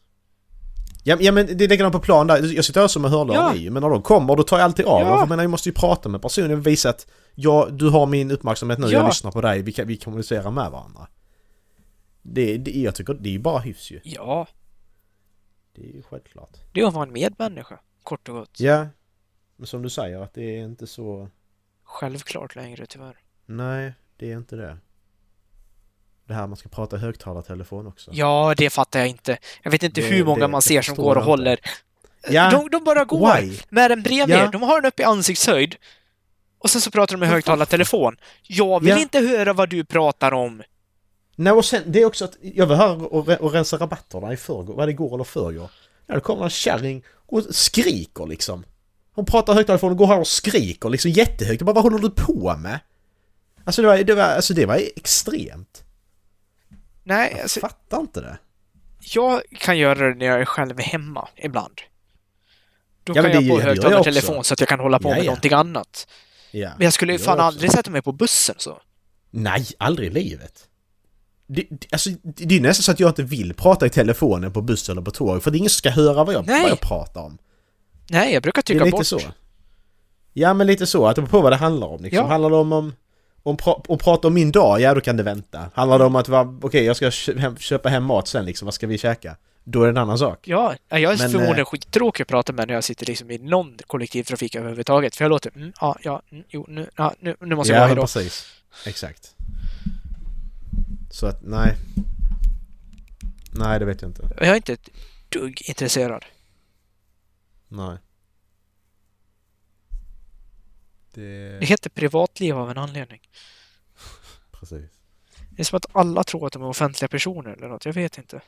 Ja, ja men det är likadant på plan där, jag sitter också med hörlurar
Ja.
i, men när de kommer då tar jag alltid av
Ja.
dem. För jag menar jag måste ju prata med personen och visa att jag, du har min uppmärksamhet nu,
Ja.
jag lyssnar på dig, vi, kan, vi kommunicerar med varandra. Det, det, jag tycker det är ju bara hyfs ju.
Ja,
Det är ju självklart.
det är att vara en medmänniska, kort och gott.
Ja. Men som du säger att det är inte så...
Självklart längre tyvärr.
Nej, det är inte det. Det här man ska prata i högtalartelefon också.
Ja, det fattar jag inte. Jag vet inte
Det-
hur många
det-
man
det
ser som
förstår
går och
jag inte.
håller.
Ja,
De, de bara går
Why?
med den bredvid.
Ja.
De har den uppe i ansiktshöjd. Och sen så pratar de med högtalartelefon. Jag vill
Ja.
inte höra vad du pratar om.
Nej och sen, det är också att jag var här och, re- och rensa rabatterna i förrgår, var det igår eller förrgår? Ja, det kommer en kärring och skriker liksom. Hon pratar i högtalartelefon och går här och skriker liksom jättehögt. Jag bara, vad håller du på med? Alltså det var, det var, alltså, det var extremt.
Nej,
Jag
alltså,
fattar inte det.
jag kan göra det när jag är själv hemma ibland. Då
Ja, men
kan
det
jag på
gör- det gör jag
högtalartelefon
också.
så att jag kan hålla på
Ja,
med
ja.
någonting annat.
Ja,
Men jag skulle ju
det gör
fan
jag också.
aldrig sätta mig på bussen så.
Nej, aldrig i livet. Det, det, alltså, det det är nästan så att jag inte vill prata i telefonen på buss eller på tåg för det är ingen som ska höra vad jag,
Nej.
vad jag pratar om.
Nej, jag
Det
brukar
är
trycka
lite
bort.
så. Ja men lite så, att det beror på vad det handlar om liksom.
Ja.
Handlar det om, om, om, pra, om prata om min dag, ja då kan det vänta. Handlar det om att, va, okej jag ska kö- hem, köpa hem mat sen liksom, vad ska vi käka? Då är det en annan sak.
Ja, jag är
Men,
förmodligen
eh,
skittråkig att prata med när jag sitter liksom i någon kollektivtrafik överhuvudtaget. För jag låter, mm, ja, ja, mm, jo, nu, ja, nu, nu måste jag
ja
gå
men
hejdå.
precis. Exakt. Så att, nej. Nej det vet jag inte.
Jag är inte ett dugg intresserad.
Nej. Det...
Det heter privatliv av en anledning.
Precis.
Det är som att alla tror att de är offentliga personer eller något, jag vet inte.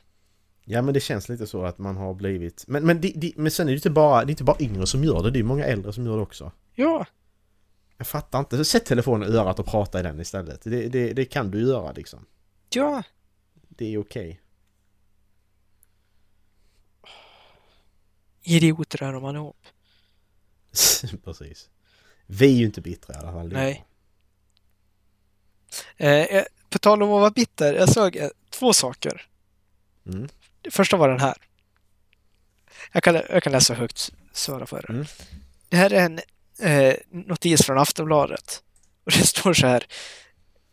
Ja men det känns lite så att man har blivit... Men, men, det, det, men sen är det inte bara, det är inte bara yngre som gör det, det är många äldre som gör det också.
Ja,
Jag fattar inte. Så Sätt telefonen i örat och prata i den istället. Det, det, det kan du göra liksom.
ja.
Det är okej.
Idioter är de allihop.
Precis. Vi är ju inte bittra i alla fall.
Nej. Eh, eh, på tal om att vara bitter, jag såg eh, två saker.
Mm.
Det första var den här. Jag kan, jag kan läsa högt, svara för det.
Mm.
Det här är en eh, notis från Aftonbladet. Och det står så här.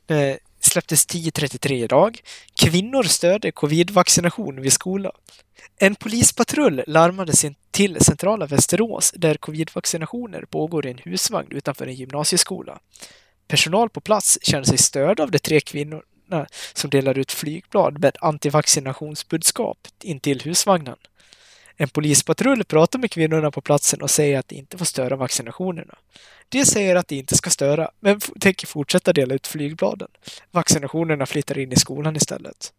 Eh, släpptes 10.33 idag. Kvinnor stöder covid-vaccination vid skola. En polispatrull larmade sin till centrala Västerås där covid-vaccinationer pågår i en husvagn utanför en gymnasieskola. Personal på plats känner sig störd av de tre kvinnorna som delar ut flygblad med antivaccinationsbudskap in till husvagnen. En polispatrull pratar med kvinnorna på platsen och säger att det inte får störa vaccinationerna. De säger att det inte ska störa, men f- tänker fortsätta dela ut flygbladen. Vaccinationerna flyttar in i skolan istället.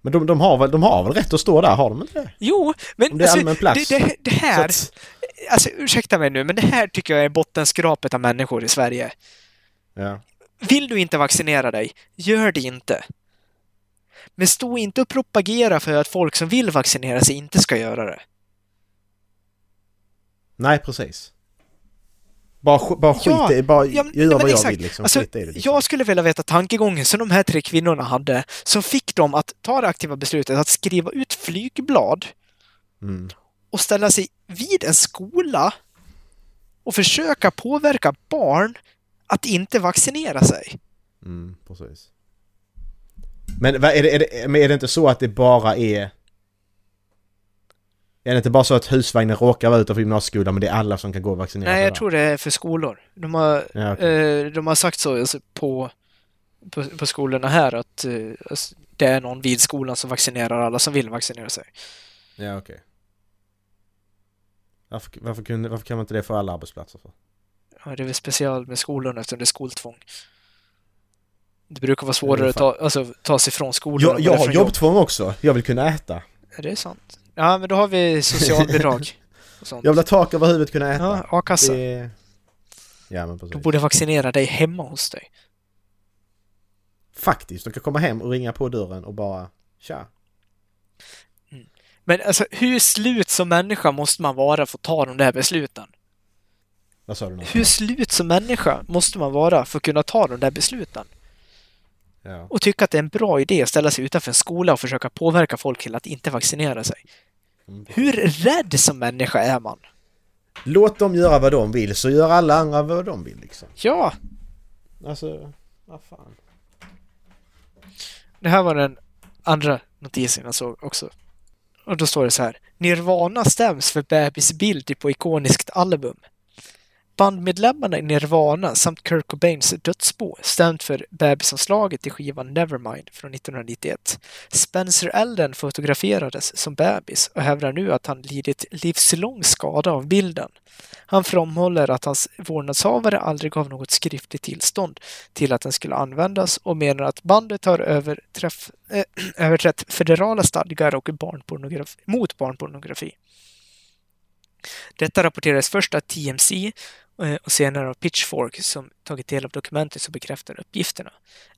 Men de, de, har väl, de har väl rätt att stå där, har de inte det?
Jo, men alltså,
Om det är allmän plats.
Det, det, det här,
Så att,
alltså ursäkta mig nu, men det här tycker jag är bottenskrapet av människor i Sverige.
ja.
Vill du inte vaccinera dig, gör det inte. Men stå inte och propagera för att folk som vill vaccinera sig inte ska göra det.
Nej, precis. Bara, sk- bara skit
Ja,
i bara
ja,
jag
men-
gör
ja, men
vad jag
exakt.
vill liksom.
Alltså,
skit i det liksom.
Jag skulle vilja veta tankegången som de här tre kvinnorna hade som fick dem att ta det aktiva beslutet att skriva ut flygblad
Mm.
och ställa sig vid en skola och försöka påverka barn att inte vaccinera sig.
Mm, precis. Men vad är det, är, det, men är det inte så att det bara är... Är det inte bara så att husvagnen råkar vara utanför gymnasieskolan men det är alla som kan gå och vaccinera
Nej,
sig
jag
där?
tror det är för skolor. De har,
Ja, okej.
eh, de har sagt så alltså, på, på, på skolorna här att eh, alltså, det är någon vid skolan som vaccinerar alla som vill vaccinera sig. Eh.
Ja, okej. Varför, varför, kunde, varför kan man inte det för alla arbetsplatser? För?
Ja, det är väl speciellt med skolorna eftersom det är skoltvång. Det brukar vara
Det
svårare
är
att ta, alltså, ta sig från skolan
Jag,
och
jag
börja
har
från
jobbtvång också. Jag vill kunna äta.
jobb. Är det sant? Ja, men då har vi socialbidrag och sånt.
Jag vill ha tak över huvudet kunna äta.
Ja, a-kassa.
det... Ja, men
Du
precis.
borde vaccinera dig hemma hos dig.
Faktiskt, de kan komma hem och ringa på dörren och bara Tja!
Men alltså, hur slut som människa måste man vara för att ta de där besluten?
Vad sa du nu?
Hur slut som människa måste man vara för att kunna ta de där besluten?
Ja.
Och tycka att det är en bra idé att ställa sig utanför en skola och försöka påverka folk till att inte vaccinera sig. Hur rädd som människa är man?
Låt dem göra vad de vill så gör alla andra vad de vill liksom.
Ja,
Alltså, vad fan.
Det här var den andra notisen jag såg också. Och då står det så här. Nirvana stäms för bebisbild på ikoniskt album. Bandmedlemmarna i Nirvana samt Kurt Cobains dödsbo stämt för bebisomslaget i skivan Nevermind från 1991. Spencer Elden fotograferades som bebis och hävdar nu att han lidit livslång skada av bilden. Han framhåller att hans vårdnadshavare aldrig gav något skriftligt tillstånd till att den skulle användas och menar att bandet har överträff, eh, överträtt federala stadgar och barnpornografi, mot barnpornografi. Detta rapporterades först av TMC eh, och senare av Pitchfork som tagit del av dokumentet som bekräftar uppgifterna.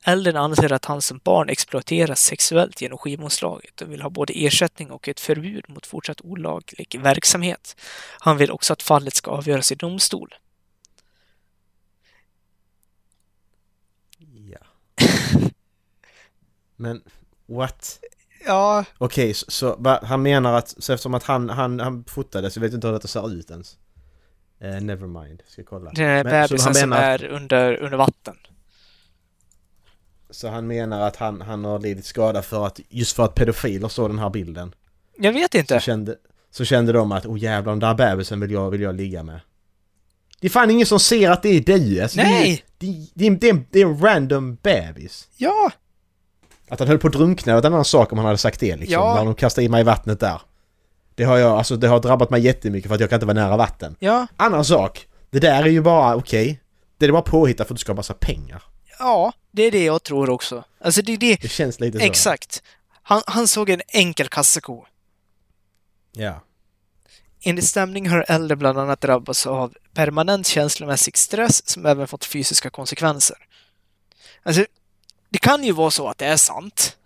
Elden anser att han som barn exploateras sexuellt genom skivomslaget och vill ha både ersättning och ett förbud mot fortsatt olaglig verksamhet. Han vill också att fallet ska avgöras i domstol.
Ja. Men, what?
Ja,
Okej, så, så va, han menar att, så eftersom att han, han, han fotade så vet jag inte hur detta ser ut ens. Eh, nevermind, ska kolla.
Det är
Men- så, han
bebisen som
menar,
är under, under vatten.
så han menar att han, han har lidit skada för att, just för att pedofiler såg den här bilden.
Jag vet
Så
inte.
kände, så kände de att oh jävlar den där bebisen vill jag, vill jag ligga med. Det är fan ingen som ser att det är du! Alltså,
Nej!
Det, är- det, är- det, är en- det är en random bebis.
Ja!
Att han höll på att drunkna var en annan sak om han hade sagt det liksom.
Ja.
När de kastade i mig i vattnet där. Det har jag, alltså det har drabbat mig jättemycket för att jag kan inte vara nära vatten.
Ja.
Annan sak! Det där är ju bara, okej. Det är bara påhittat för att du ska ha massa pengar.
Ja, det är det jag tror också. Alltså det är det.
Det känns lite så.
Exakt. Han, han såg en enkel kassako.
Ja.
Enligt stämning har äldre bland annat drabbats av permanent känslomässig stress som även fått fysiska konsekvenser. Alltså, det kan ju vara så att det är sant.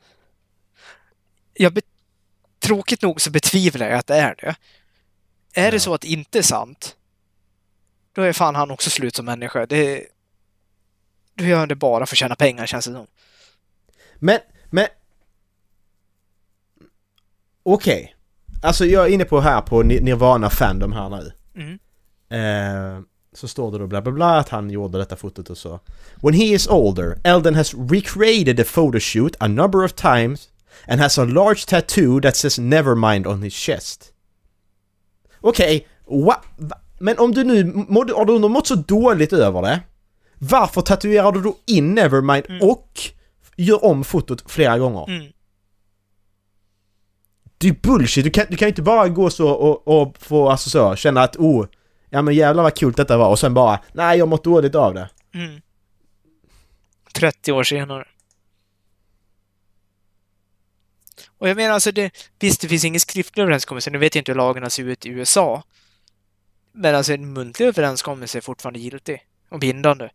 Jag bet- Tråkigt nog så betvivlar jag att det är det. Är det
Ja.
så att det inte är sant, då är fan han också slut som människa. Det... Då gör han det bara för att tjäna pengar, känns det som.
Men, men... Okej. Alltså jag är inne på här på Ni- Nirvana Fandom här nu.
Mm.
Eh, så står det då bla bla bla att han gjorde detta fotot och så. When he is older, Elden has recreated the photoshoot a number of times and has a large tattoo that says nevermind on his chest. Okej, va- va- men om du nu mådde, har du nu mått så dåligt över det, varför tatuerar du då in nevermind och gör om fotot flera gånger?
Mm.
Det är bullshit, du kan, du kan inte bara gå så och, och få, alltså så, känna att oh, ja men jävlar vad kul detta var och sen bara nej jag har mått dåligt av det.
Mm. 30 år senare. Och jag menar alltså, det, visst det finns ingen skriftlig överenskommelse, nu vet jag inte hur lagarna ser ut i USA. Men alltså en muntlig överenskommelse är fortfarande giltig och bindande.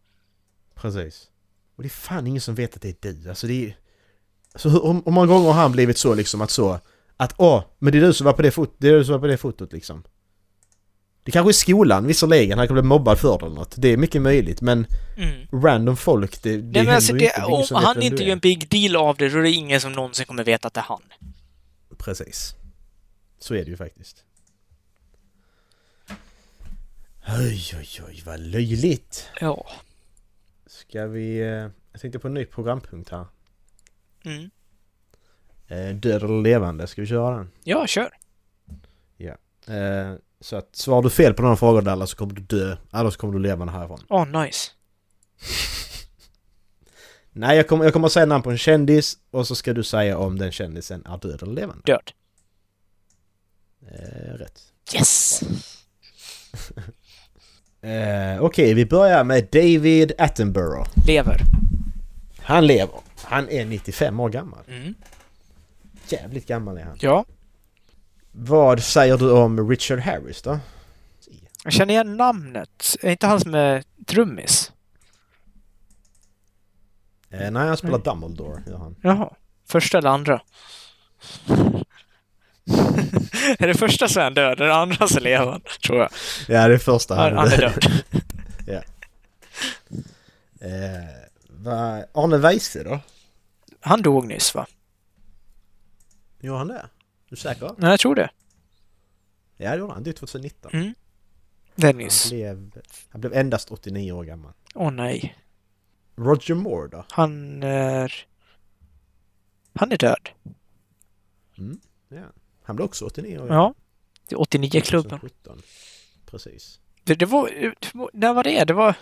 Precis. Och det är fan ingen som vet att det är du, alltså det är Så hur, hur hur många gånger har han blivit så liksom att så... Att åh, men det är du som var på det fotot, det är du som var på det fotot liksom. Det kanske är skolan visserligen, han kan bli mobbad för det eller något. Det är mycket möjligt men
Mm.
random folk, det, det
Nej,
händer
men alltså,
ju
det,
inte. Det är ingen
om
som vet
han
vem
inte
du
gör
är.
en big deal av det, då är det ingen som någonsin kommer veta att det är han.
Precis. Så är det ju faktiskt. Oj, oj, oj, vad löjligt.
Ja.
Ska vi... eh, Jag tänkte på en ny programpunkt här.
Mm.
Eh, Död eller levande, ska vi köra den?
Ja, kör.
Eh, Så att svarar du fel på någon fråga Dalla så kommer du dö, annars kommer du levande härifrån.
Åh, nice.
Nej, jag kommer, jag kommer att säga namn på en kändis och så ska du säga om den kändisen är död eller levande.
Död.
Eh, rätt.
Yes!
Eh, Okej, vi börjar med David Attenborough.
Lever.
Han lever. Han är 95 år gammal.
Mm.
Jävligt gammal är han.
Ja.
Vad säger du om Richard Harris då? Eh,
Jag känner igen namnet. Är inte han som är trummis?
Eh, nej, han spelar
Mm.
Dumbledore, gör han.
Jaha. Första eller andra? är det första så är han död, är det andra så lever han, tror jag.
Ja, det är första
Han, han är död.
eh, vad- Arne Weise då?
Han dog nyss, va?
Gör han det? Är du säker?
Nej, jag tror det.
Ja, det gjorde han. Det är 2019.
Mm. Det är
Han
nyss.
blev, han blev endast 89 år gammal.
Åh nej.
Roger Moore då?
Han är... Han är död.
Han blev också 89 år
Ja. Det är 89-klubben.
2017. Precis.
Det, det var... När var det? Det var...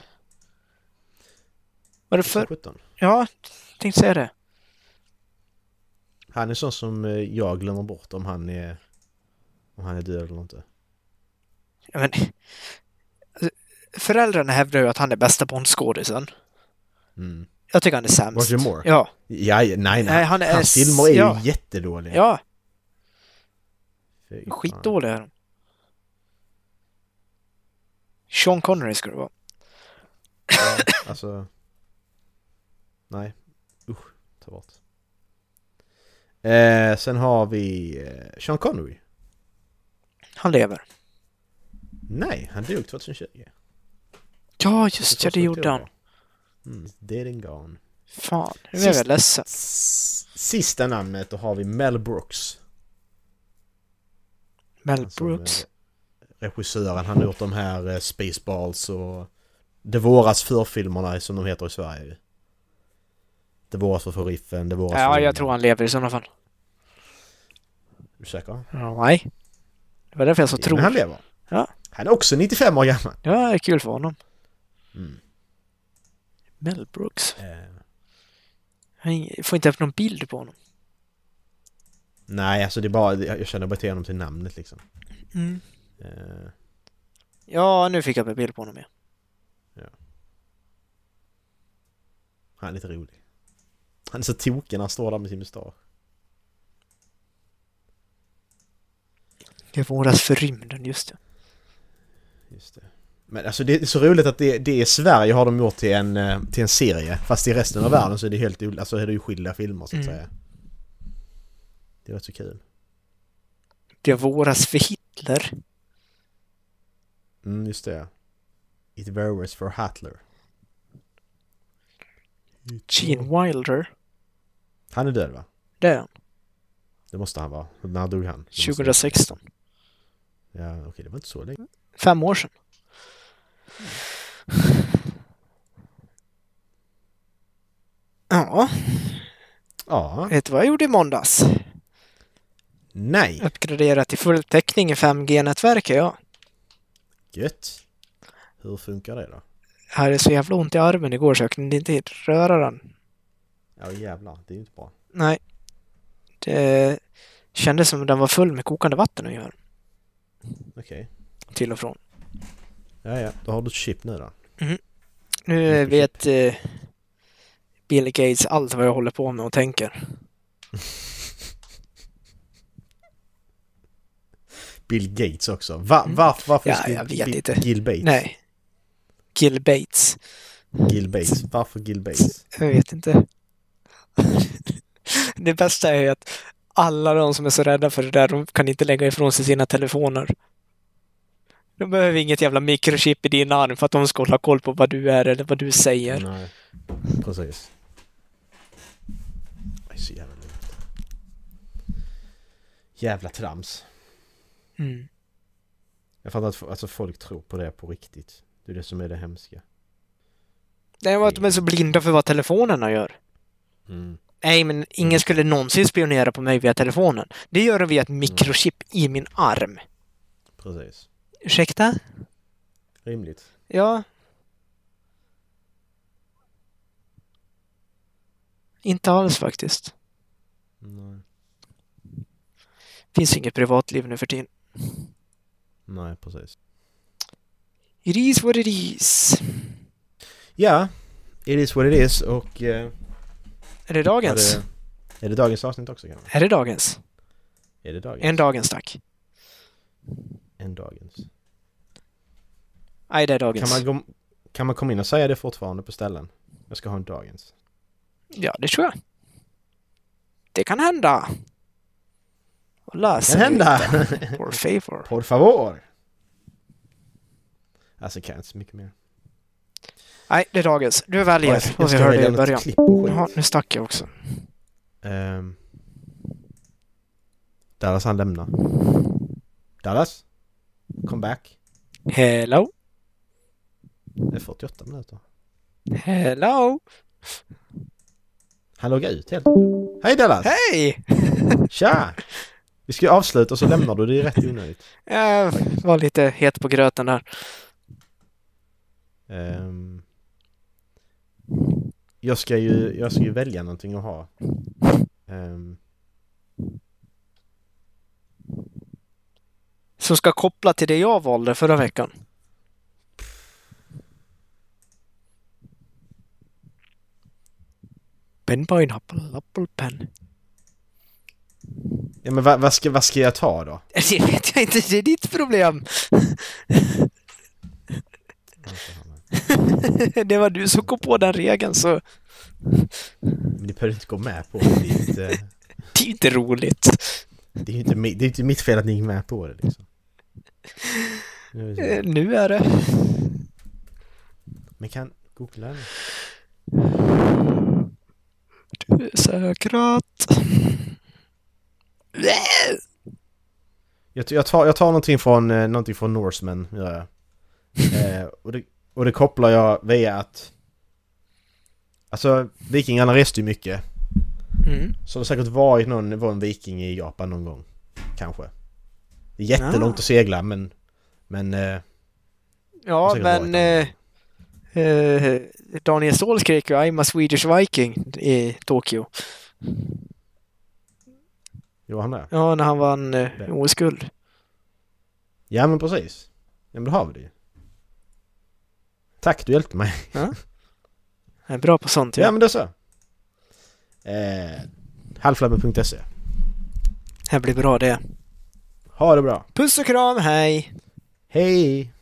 Var det för...
2017.
Ja, tänkte säga det.
Han är sån som eh, jag glömmer bort om han är... Om han är död eller inte.
Ja, men, alltså, föräldrarna hävdar ju att han är bästa Bondskådisen.
Mm.
Jag tycker han är sämst.
Roger Moore?
Ja.
Ja, ja, nej, nej.
Nej, han är...
Hans filmer är
ja,
ju jättedåliga.
Ja,
Fy fan.
skitdåliga är de. Sean Connery skulle det vara.
Ja, alltså... Nej. Usch. Ta bort. Eh, sen har vi eh, Sean Connery.
Han lever.
Nej, han dog 2020.
Ja, just ja, det gjorde han.
Mm, dead and gone.
Fan, nu är
Sist-
jag ledsen.
S- Sista namnet då har vi Mel Brooks.
Mel
Han som,
Brooks.
eh, Regissören, han har gjort de här eh, Spaceballs och Det våras förfilmerna som de heter i Sverige. ju. Det våras för sheriffen, det våras
Ja,
för...
jag tror han lever i sådana fall.
Är du säker?
Ja, nej. Det var därför jag sa
Ja, men han
tror.
lever.
Ja.
Han är också 95 år gammal.
Ja, det är kul för honom.
Mm.
Mel Brooks.
Eh,
Han får inte upp någon bild på honom.
nej, alltså det är bara, jag jag känner bara till honom till namnet liksom. Eh,
Mm. Ja, nu fick jag upp en bild på honom ja.
han är lite rolig. Han är så tokig när han står där med sin mustasch.
Det våras för rymden, just det.
Just det. Men alltså det är så roligt att det, det är Sverige har de gjort till en, eh, till en serie. Fast i resten av världen så är det helt ol- alltså är det ju skilda filmer så att
Mm.
säga. Det är rätt så kul.
Det våras för Hitler.
Mm, just det. It varies for Hitler.
Gene Wilder.
Han är död va?
Det är han.
Det måste han vara. När dog han? Det måste-
2016.
Ja, okej det var inte så länge.
Fem år sedan. Ja,
Ja.
vet du vad jag gjorde i måndags?
Nej.
Uppgraderat till full täckning i 5G-nätverket, ja.
Gött. Hur funkar det då?
Jag hade så jävla ont i armen igår så jag kunde inte röra den.
Ja jävlar, det är ju inte bra.
Nej. Det kändes som den var full med kokande vatten ungefär.
Okej.
Till och från.
Ja, ja. Då har du ett chip nu då.
Nu vet eh, Bill Gates allt vad jag håller på med och tänker.
Bill Gates också. Va, varför varför
Mm. Ja,
skulle
jag vet
Bill-
inte.
Bill Gates?
Nej. Gil Bates.
Gil Bates. Varför Gil Bates?
Jag vet inte. Det bästa är ju att alla de som är så rädda för det där, de kan inte lägga ifrån sig sina telefoner. De behöver inget jävla mikrochip i din arm för att de ska hålla koll på vad du är eller vad du säger.
Nej, precis. Det är så jävla dumt. Jävla trams.
Mm.
Jag fattar att f- alltså, folk tror på det på riktigt. Det är det som är det hemska.
Nej, men att de är så blinda för vad telefonerna gör.
Mm.
Nej, men ingen skulle någonsin spionera på mig via telefonen. Det gör de via ett mikrochip i min arm.
Precis.
Ursäkta?
Rimligt.
Ja. Inte alls faktiskt.
Nej.
Finns inget privatliv nu för tiden.
Nej, precis.
It is what it is.
Ja, it is what it is och... Eh,
Är det
är,
dagens?
det, är det dagens avsnitt också kanske?
Är det dagens?
Är det dagens?
En dagens, tack.
En dagens.
Nej, det är
Kan
dagens.
man, gå, kan man komma in och säga det fortfarande på ställen? Jag ska ha en dagens.
Ja, det tror jag. Det kan hända. Hola,
Kan hända!
Por favor.
Por favor! Alltså kan jag inte så mycket mer.
Nej, det är dagens. Du
Ja,
väljer
jag ska-
vad vi
jag ska
hörde
välja
i
något
början.
klipp och skit.
Jaha, nu stack jag också.
Ehm. Dallas han lämnar. Dallas? Come back.
Hello?
Det är 48 minuter.
Hello?
Han loggar ut helt. Hej Dallas!
Hej!
Tja! Vi ska ju avsluta och så lämnar du, det är rätt onödigt.
Jag var lite het på gröten där.
Ehm. jag, ska ju, jag ska ju välja någonting att ha. Ehm.
Som ska koppla till det jag valde förra veckan. Pen pineapple, apple pen.
ja men vad, vad, ska, vad ska jag ta då?
Det vet jag inte, det är ditt problem. Det var du som kom på den regeln så
Men det behöver inte gå med på det. Det är ju inte,
det är ju inte roligt.
det är ju inte, mi- det är ju inte mitt fel att ni gick med på det liksom. Nu är det så.
Eh, Nu är det.
Men kan googla den?
Du är säkrat.
Jag, jag, tar, jag tar någonting från, eh, någonting från Norseman, gör jag. Eh, och, det, och det kopplar jag via att... Alltså, vikingarna reste ju mycket.
Mm.
Så det har säkert varit någon, var en viking i Japan någon gång. Kanske. Det är jättelångt
Ah.
att segla, men... Men... Eh,
Ja,
säkert
men eh,
varit
eh, Daniel Ståhl skrek ju I'm a Swedish Viking i Tokyo.
jo, han där.
Ja, när han vann eh,
Det.
OS-guld.
Ja, men precis. Ja, men då har vi det ju. Tack, du hjälpte mig.
Han är bra på sånt.
Ja,
Ja.
men det är så. Eh, Halflabben.se.
Det blir bra det.
Ha det bra.
Puss och kram, hej!
Hej!